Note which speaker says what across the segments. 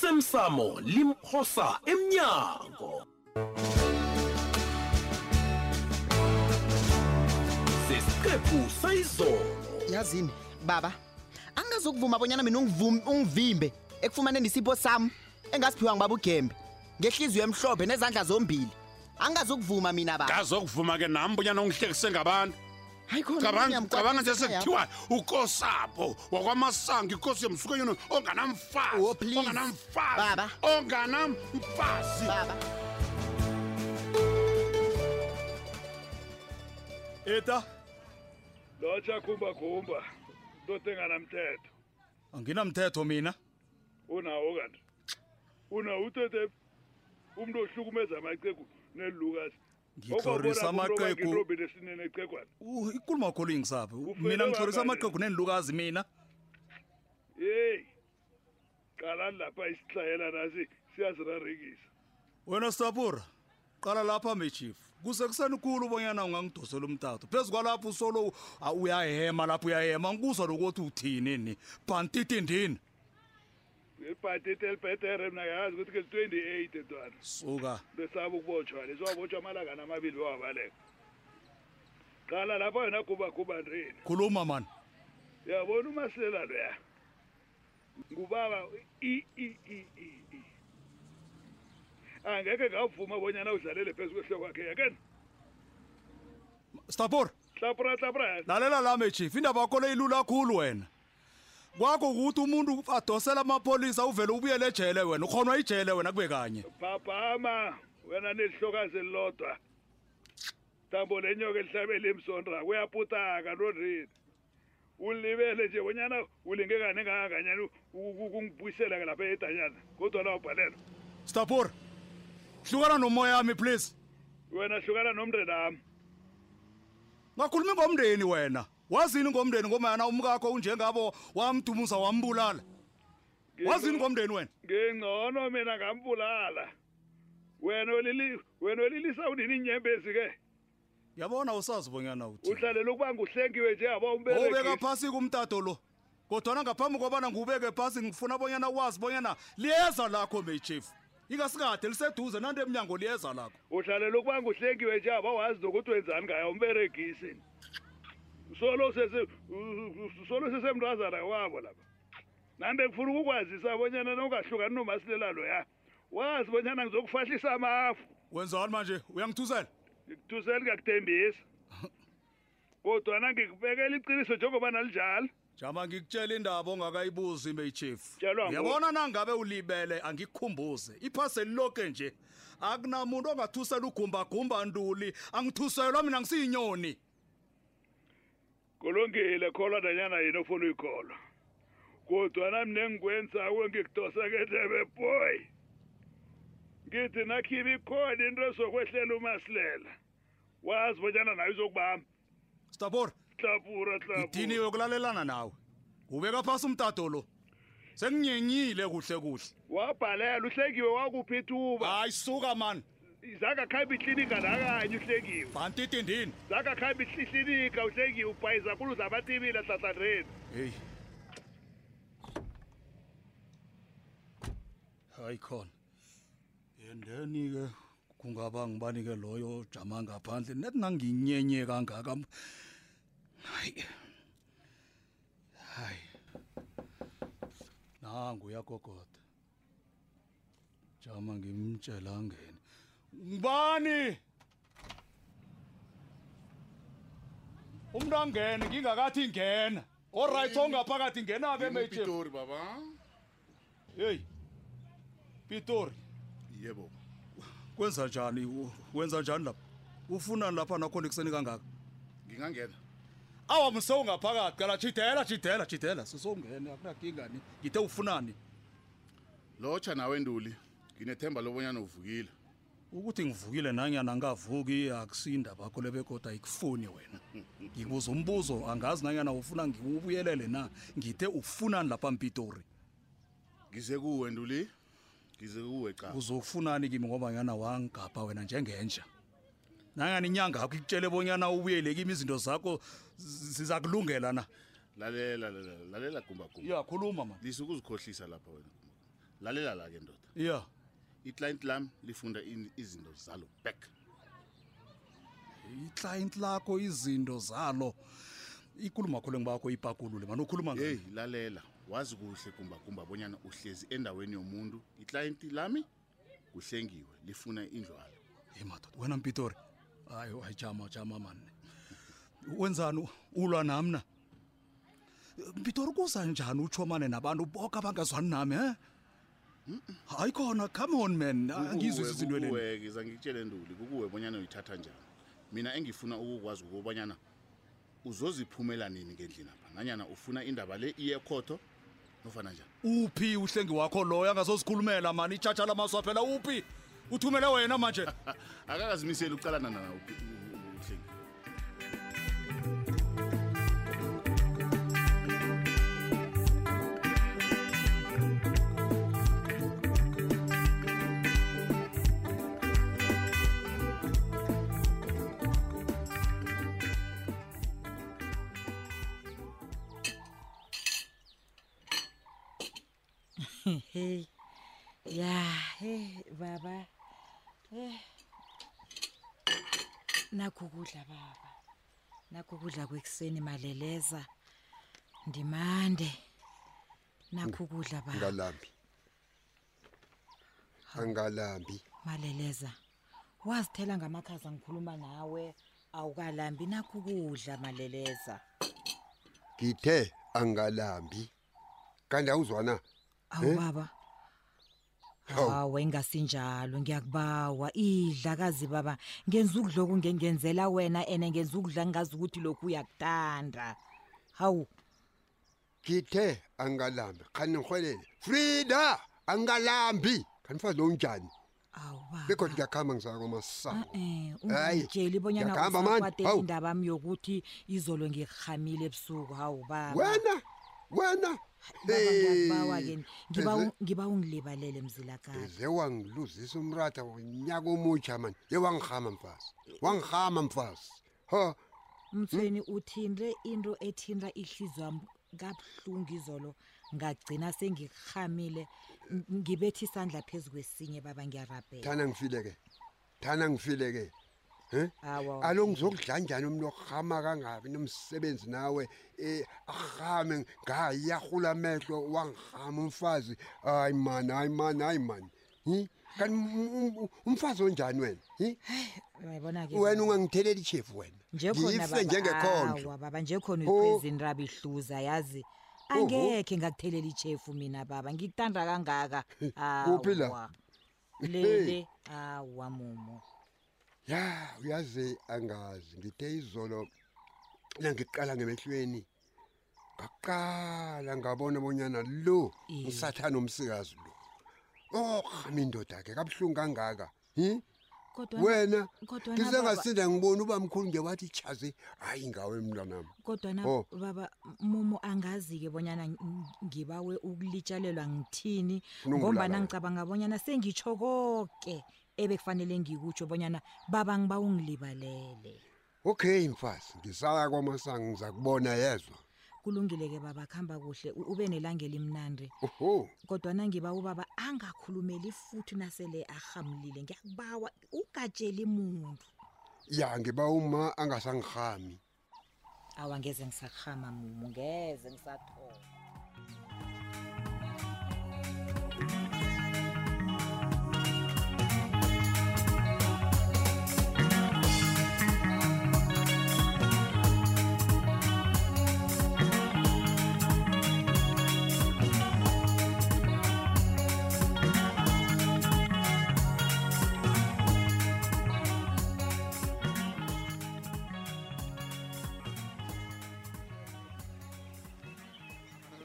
Speaker 1: osemsamo limphosa emnyango sesiqephu sayizolo
Speaker 2: yazini baba angazokuvuma bonyana mina ungivum- ungivimbe ekufumaneni isipho sami engasiphiwa ngibaba ugembe ngehliziyo emhlophe nezandla zombili angazokuvuma mina baba
Speaker 3: ngazokuvuma ke nami bunyana ungihlekise ngabantu
Speaker 2: hayi
Speaker 3: Cabanga- cabanga nje sekuthiwa ukosapho wakwamasango ikosi yomsukanyoni onganamfazi
Speaker 2: Oh, please. Baba.
Speaker 3: onganamfazi onganamfazi
Speaker 4: Eta,
Speaker 5: lotsha khumbakhumba ndoda enganamthetho
Speaker 4: anginamthetho mina.
Speaker 5: unawo kanti unawo uthethe umntu ohlukumeza amacegu nelulukas
Speaker 4: Ngithorisa amaqegu.
Speaker 5: robin esinene ecegwana
Speaker 4: Uh, Ikulumo khulu ingisaphi.
Speaker 5: Ufele
Speaker 4: Mina ngithorisa
Speaker 5: kangangani?
Speaker 4: amaqegu nenilukazi mina.
Speaker 5: yeyi qalani lapha isihlayela nasi siyazirarekisa
Speaker 4: Wena Sapura, qala lapha me chief. Kusekuseni khulu ubonyana ungangidosela umtathu. Phezulu kwalapho usolo ah, uyahema lapho uyahema. Ngikuzwa lokuthi uthini ni. Bantiti ndini.
Speaker 5: ibhatete elibhetere mna ngayazi ukuthi ke li-twenty-eight entwana
Speaker 4: Suka.
Speaker 5: besaba ukubotshwa leswabotshwa amalanga namabili wawabaleka qala lapha yona khumbakhumba ndrini
Speaker 4: Khuluma man.
Speaker 5: yabona umasilela loya ngubaba i i i i i angeke ngavuma bonyana udlalele phezu kwehloko yakhe yakeni
Speaker 4: Sapura.
Speaker 5: hlapura hlapura
Speaker 4: lalela lami chief indaba yakho le ilula kakhulu wena kwakho ukuthi umuntu adosela amapolisa uvele ubuyele ejele wena ukhonwa ijele wena kube kanye
Speaker 5: bhabhama wena nelihlokazi elilodwa tambo lenyoka elihlabeli emsondra kuyaputaka nondrini ulibele nje bonyana ulinge kane ngangakanyani kungibuyisela-ke lapha edanyana kodwa nawubhalela
Speaker 4: stapura hlukana nomoya wami please
Speaker 5: wena hlukana nomndenami
Speaker 4: ngakhulumi ngomndeni wena wazini ngomndeni ngomayana umkakho unjengabo wamdumuza wambulala wazini ngomndeni wena
Speaker 5: ngingcono mina ngambulala wena olili wena olilisa unini inyembezi ke
Speaker 4: yabona usazi bonyana uthi
Speaker 5: uhlalela ukuba nguhlengiwe nje aba
Speaker 4: obeka
Speaker 5: umbeleki
Speaker 4: phasi kumtato lo kodwana ngaphambi kobana ngiwubeke phasi ngifuna bonyana wazi bonyana liyeza lakho may chief ingasikade liseduze nanto emnyango liyeza lakho
Speaker 5: uhlalela ukuba nguhlengiwe nje aba wazi nokuthi wenzani ngayo umberegisi solo sese u- u- solo sesemntazana wabo lapha nambe ngifuna ukukwazisa abonyana nongahlukani nomasilelalo ya wazi bonyana ngizokufahlisa amafu
Speaker 4: wenzani manje uyangithusela
Speaker 5: ngikuthuseli ngakuthembisa kodwana ngikubekela iqiniso njengoba nalinjalo
Speaker 4: jama ngikutshela indaba ongakayibuzi may chief
Speaker 5: Tshelwa ngoku.
Speaker 4: yabona nangabe ulibele angikukhumbuze iphase liloke nje akunamuntu ongathusela ugumbagumba nduli angithuselwa mina ngisiyinyoni
Speaker 5: kulungile kholwa nanyana yini ofuna uyikholwa kodwana mna engikwenzako ngikudosa kendlebe boy ngithi nakhibe ikhona into ezokwehlela umasilela wazi bonyana nayo izokubamba
Speaker 4: stabor
Speaker 5: hlapura hlapura
Speaker 4: idiniwe kulalelana nawe ubeka phasi umtato lo senginyenyile kuhle kuhle
Speaker 5: wabhalela uhlekiwe wakuphi ithuba
Speaker 4: hayi suka mani
Speaker 5: zange akhambe iklinika nakanye uhlekiwe
Speaker 4: bantiti ndini
Speaker 5: zange akhambe iklinika uhlekiwe ubhayiza kulu zamatibila hlahlandreni
Speaker 4: heyi hayi khona endeni-ke kungaba ngibani-ke loyo ojama ngaphandle nethi nanginyenye kangaka hayi hayi nangu uyagogoda jama ngimtshela angene ngibani umntu angene ngingakathi ngena olright ongaphakathi ngena ke major
Speaker 6: Pitori baba.
Speaker 4: heyi pitori
Speaker 6: Yebo.
Speaker 4: kwenza njani u- wenza njani lapha ufunani lapha nakhona ekuseni kangaka
Speaker 6: Ngingangena.
Speaker 4: awa msewungaphakathi kala jidela jidela jidela sisowungene akunakinga ni ngithe ufunani
Speaker 6: Locha nawe nduli. Nginethemba lobonyana uvukile.
Speaker 4: ukuthi ngivukile nanyana ngavuki akusindaba kho le bekoda ikufuni wena ngikubuza umbuzo angazi nanyana ufuna ngiwubuyelele na ngithe ufunani lapha mpitori
Speaker 6: Ngize kuwe nduli. Ngize kuwe cha.
Speaker 4: uzokufunani kimi ngoba nyana wangigapha wena njengenja nangani inyanga yakho ikutshele bonyana ubuyele kimi izinto zakho z- ziza kulungela na
Speaker 6: Lalela lalela lalela gumba gumba.
Speaker 4: iyakhuluma mani
Speaker 6: Lisukuzikhohlisa lapha wena. lalela la ke ndoda
Speaker 4: ya
Speaker 6: iclient lami lifunda in- izinto zalo back
Speaker 4: iclayenti lakho izinto zalo ikulumo akho lengibakho ipakulule mani ukhuluma
Speaker 6: yeyi
Speaker 4: ngayo
Speaker 6: lalela wazi kuhle kumbakumba bonyana uhlezi endaweni yomuntu iclient lami kuhlengiwe lifuna indlwalo
Speaker 4: hey madoda wena mpitori hayi hayi jama jama mani wenzani ulwa nami na mpitori kuza njani utshomane nabantu boke abangazwani nami he hayi khona come on man Ah, angizwe
Speaker 6: Kukuwe,
Speaker 4: izizinto leni
Speaker 6: kukuwe, ngiza ngikutshele nduli kukuwe bonyana uyithatha njani mina engifuna ukukwazi ukubonyana uzoziphumela nini ngendlini apha nanyana ufuna indaba le iye ekhoto nofana njani
Speaker 4: uphi uhlengi wakho loyo angazozikhulumela mani itshatsha lamaswa phela uphi uthumele wena manje
Speaker 6: akakazimiseli ukuqalana nana uhlengi
Speaker 7: Hey. Ya, hey baba. Eh. Nakho kudla baba. Nakho kudla kwekuseni maleleza. Ndimande. Nakho kudla baba
Speaker 8: angalambi angalambi
Speaker 7: maleleza. Wazithela ngamakhaza ngikhuluma nawe. Awukalambi nakho kudla maleleza.
Speaker 8: ngithe angalambi kanti awuzwana
Speaker 7: Awu
Speaker 8: Eh?
Speaker 7: baba.
Speaker 8: Hawu.
Speaker 7: Hawu engasinjalo ngiyakubawa idlakazi baba ngenza ukudloko ngengenzela wena ene ngenza ukudla ngazi ukuthi lokhu uyakutanda. Hawu
Speaker 8: ngithe angalambi khani ngihwelele frida angalambi kanifaz lo njani
Speaker 7: awu baba.
Speaker 8: bekhona ngiyakhamba ngizayo masango
Speaker 7: Eh
Speaker 8: Hayi,
Speaker 7: ungitsheli bonyana
Speaker 8: ngiyakahamba mani, hawu.
Speaker 7: indaba yami yokuthi izolo ngikhamile ebusuku hawu baba.
Speaker 8: wena wena
Speaker 7: Baba, ngiyakubawa
Speaker 8: Hey.
Speaker 7: ke ngiba
Speaker 8: Eze-
Speaker 7: ngiba ungilibalele mzilakazi.
Speaker 8: eze wangiluzisa umrata wonyaka omutsha mani ye wangihama mfazi wangihama mfazi ho
Speaker 7: Mthweni uthindre into ethinda ihliziyo yami kabuhlungu izolo ngagcina sengikhamile ngibethe isandla phezu kwesinye baba ngiyarabhela
Speaker 8: thana ngifile ke thana ngifile ke um
Speaker 7: Awa,
Speaker 8: alo ngizokudla njani umntu orhama kangabi nomsebenzi nawe um arhame ngayarhula amehlo wangirhama umfazi hayi mani hayi mani hayi mani hi kanti um- um- um- umfazi onjani wena hi
Speaker 7: uyayibona ke
Speaker 8: wena
Speaker 7: baba.
Speaker 8: ungangitheleli ishefu wena
Speaker 7: Nje khona
Speaker 8: ngife
Speaker 7: baba,
Speaker 8: njengekhondlo
Speaker 7: awa, baba nje khona
Speaker 8: Oh.
Speaker 7: uyiprezindrabi ihluza yazi angekhe ngakuthelela ichefu mina baba ngikuthanda kangaka
Speaker 8: Kuphi la?
Speaker 7: Awa. lele awa mumo
Speaker 8: ya uyazi angazi ngithe izolo nangiqala ngemehlweni ngaqala ngabona bonyana lo
Speaker 7: Iye.
Speaker 8: usathana umsikazi lo orhama indoda ke kabuhlungu kangaka hi
Speaker 7: kodwa
Speaker 8: wena
Speaker 7: kodwana baba-
Speaker 8: ngisengasinda ngibona uba mkhulu nje wathi chaze hayi ngawe mntwanam
Speaker 7: kodwa na
Speaker 8: Oh.
Speaker 7: baba mumo angazi-ke bonyana ng- ngibawe ukulitshalelwa ngithini
Speaker 8: Funa ungibulala
Speaker 7: ngombana
Speaker 8: wena.
Speaker 7: ngicabanga bonyana sengitsho koke ebekufanele ngikutsho bonyana baba ngiba ungilibalele
Speaker 8: okay mfazi ngisaya kwamasango ngiza kubona yezwa
Speaker 7: kulungile-ke baba kuhamba kuhle u- ube nelanga elimnandi
Speaker 8: oho
Speaker 7: kodwana ngiba ubaba angakhulumeli futhi nasele ahamulile ngiyakubawa ugatsheli muntu
Speaker 8: ya ngiba uma angasangihami
Speaker 7: awa ngeze ngisarhama mumo ngeze ngisathola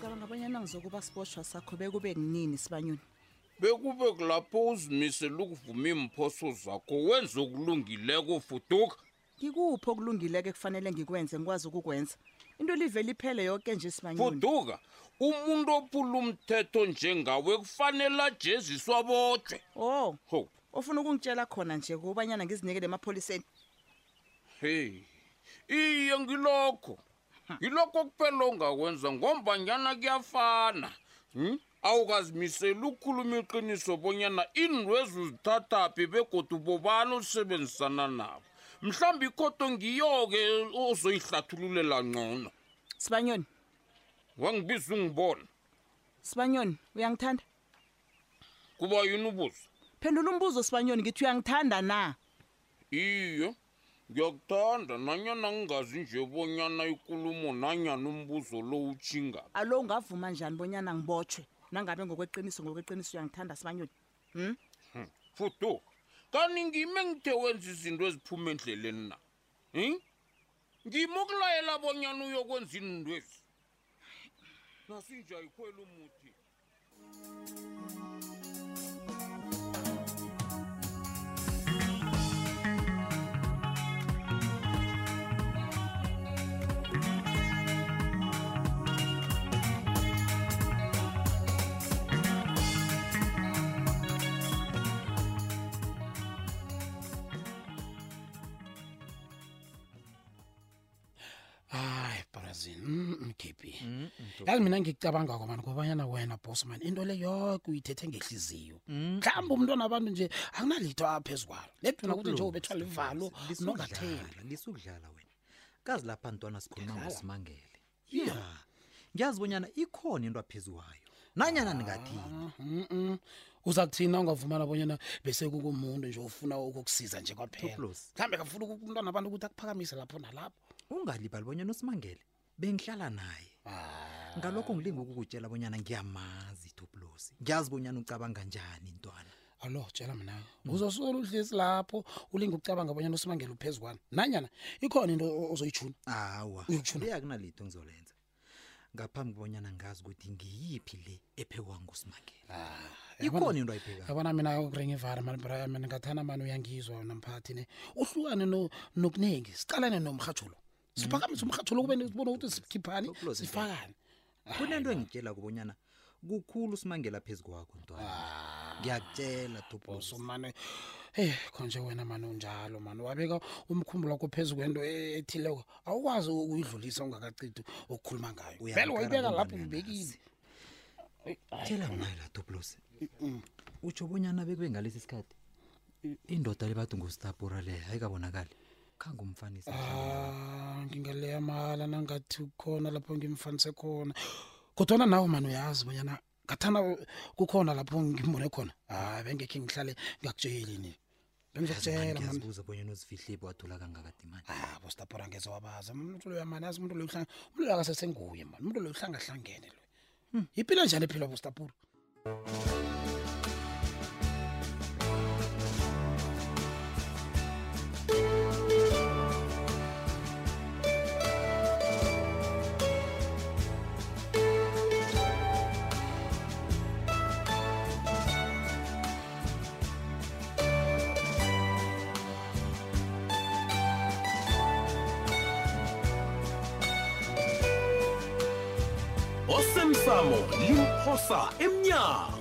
Speaker 9: cabanga abanyana ngizokuba siboshwa sakho bekube kunini sibanyoni
Speaker 10: bekube kulapho uzimisele ukuvuma iimphoso zakho wenze okulungileko fuduka
Speaker 9: ngikuphi okulungileke kufanele ngikwenze ngikwazi ukukwenza into livele iphele yonke nje sibanyoni
Speaker 10: fuduka umuntu ophula umthetho njengawe kufanele ajeziswa bodwe
Speaker 9: o
Speaker 10: ho
Speaker 9: Oh, ofuna ukungitshela khona nje kubanyana ngizinikele emapholiseni
Speaker 10: hey iye
Speaker 9: Hm.
Speaker 10: ngilokho ngilokho kuphela ongakwenza ngombanyana kuyafana Hmm?
Speaker 3: awukazimiseli ukukhuluma iqiniso bonyana iindwezi uzithathaphi begodu bobani osebenzisana nabo mhlawumbi ikhoto ngiyo-ke ozoyihlathululela ngcono
Speaker 7: sibanyoni
Speaker 3: wangibiza ungibona
Speaker 7: sibanyoni uyangithanda
Speaker 3: kuba yini ubuzo
Speaker 7: phendula umbuzo sibanyoni ngithi uyangithanda na
Speaker 3: iye ngiyakuthanda nanyana ngingazi nje bonyana ikulumo nanyana umbuzo lo utshingaphi
Speaker 7: alo ungavuma njani bonyana ngibotshwe nangabe ngokweqiniso ngokweqiniso uyangithanda sibanyoni hmm?
Speaker 3: Hmm, futu kanti ngime ngithe wenza izinto eziphuma endleleni na um ngima ukulayela bonyana uyokwenza iinto ezi nasinje ayikhwela umuthi
Speaker 4: hayi brazin mgibi yazi mina ngicabanga komani kobanyana wena bos mani into le yoke uyithethe ngehliziyo mhlawumbi umntwana abantu nje akunalitho aphezu kwalo leduna kuthi nje ubethwa livalo nongathembi
Speaker 11: lisukudlala wena kazi lapha ntwana sikhuluma
Speaker 4: Ngidlala?
Speaker 11: ngosimangele ya ngiyazi bonyana ikhona into aphezu kwayo nanyana ningathini
Speaker 4: Ah, Mm-mm. uza kuthina ungavumana bonyana bese kukumuntu nje ufuna ukukusiza nje kwaphela
Speaker 11: Toplos.
Speaker 4: mhlawumbe kafuna umntwana abantu ukuthi akuphakamise lapho nalapho
Speaker 11: ungalibali bonyana usimangele bengihlala naye
Speaker 4: Ah.
Speaker 11: ngalokho ngilinga ukukutshela bonyana ngiyamazi itoplosi ngiyazi bonyana ucabanga njani ntwana
Speaker 4: alo tshela mna uzosola uhlisi lapho ulinga ukucabanga abanyana usimangela uphezu kwana nanyana ikhona into o- ozoyitshuna
Speaker 11: awa le akunalitho engizolenza ngaphambi kobonyana ngazi ukuthi ngiyiphi le ephekwa ngusimangele ikhona into ayiphekayo
Speaker 4: Ah, yabona mina ukuringa ivari mani braya mina ngathana mani uyangizwa namphathi ne uhlukane no- nokuningi sicalane nomrhatsho lo siphakamise umrhatsho lo kube sibona ukuthi sikhiphani sifakane
Speaker 11: kunento engitshela kubonyana kukhulu usimangela phezu kwakho ntwana
Speaker 4: Ah.
Speaker 11: ngiyakutshela toplosi
Speaker 4: eyi eh, khonje wena mani unjalo mani wabeka umkhumbulo wakho phezu kwento e- ethileko awukwazi ukuyidlulisa ungakacithi ukukhuluma ngayo vele wayibeka lapho uyibekile
Speaker 11: tshela ngayo la toplosi utsho bonyana bekube ngalesi sikhathi indoda lebathi ngustapura le ayikabonakali khange umfanisa
Speaker 4: Ah, ngingaleya mahala nangathi kukhona lapho ngimfanise khona kodwana nawe mani uyazi bonyana ngathana kukhona lapho ngimbone khona hayi Ah, bengekhe ngihlale ngakutsheli ni bengizokutshela mani
Speaker 11: ngiyazibuza bonyana uzifihle bwadula kangakadimani
Speaker 4: bostapora ngeze wabaza umuntu loyo mani yazi umuntu loyo uhlanga- umuntu loyo akasesenguye mani umuntu loyo uhlangahlangene loyo yiphila njani ephilwa bostapura
Speaker 12: osemsamo limphosa emnyango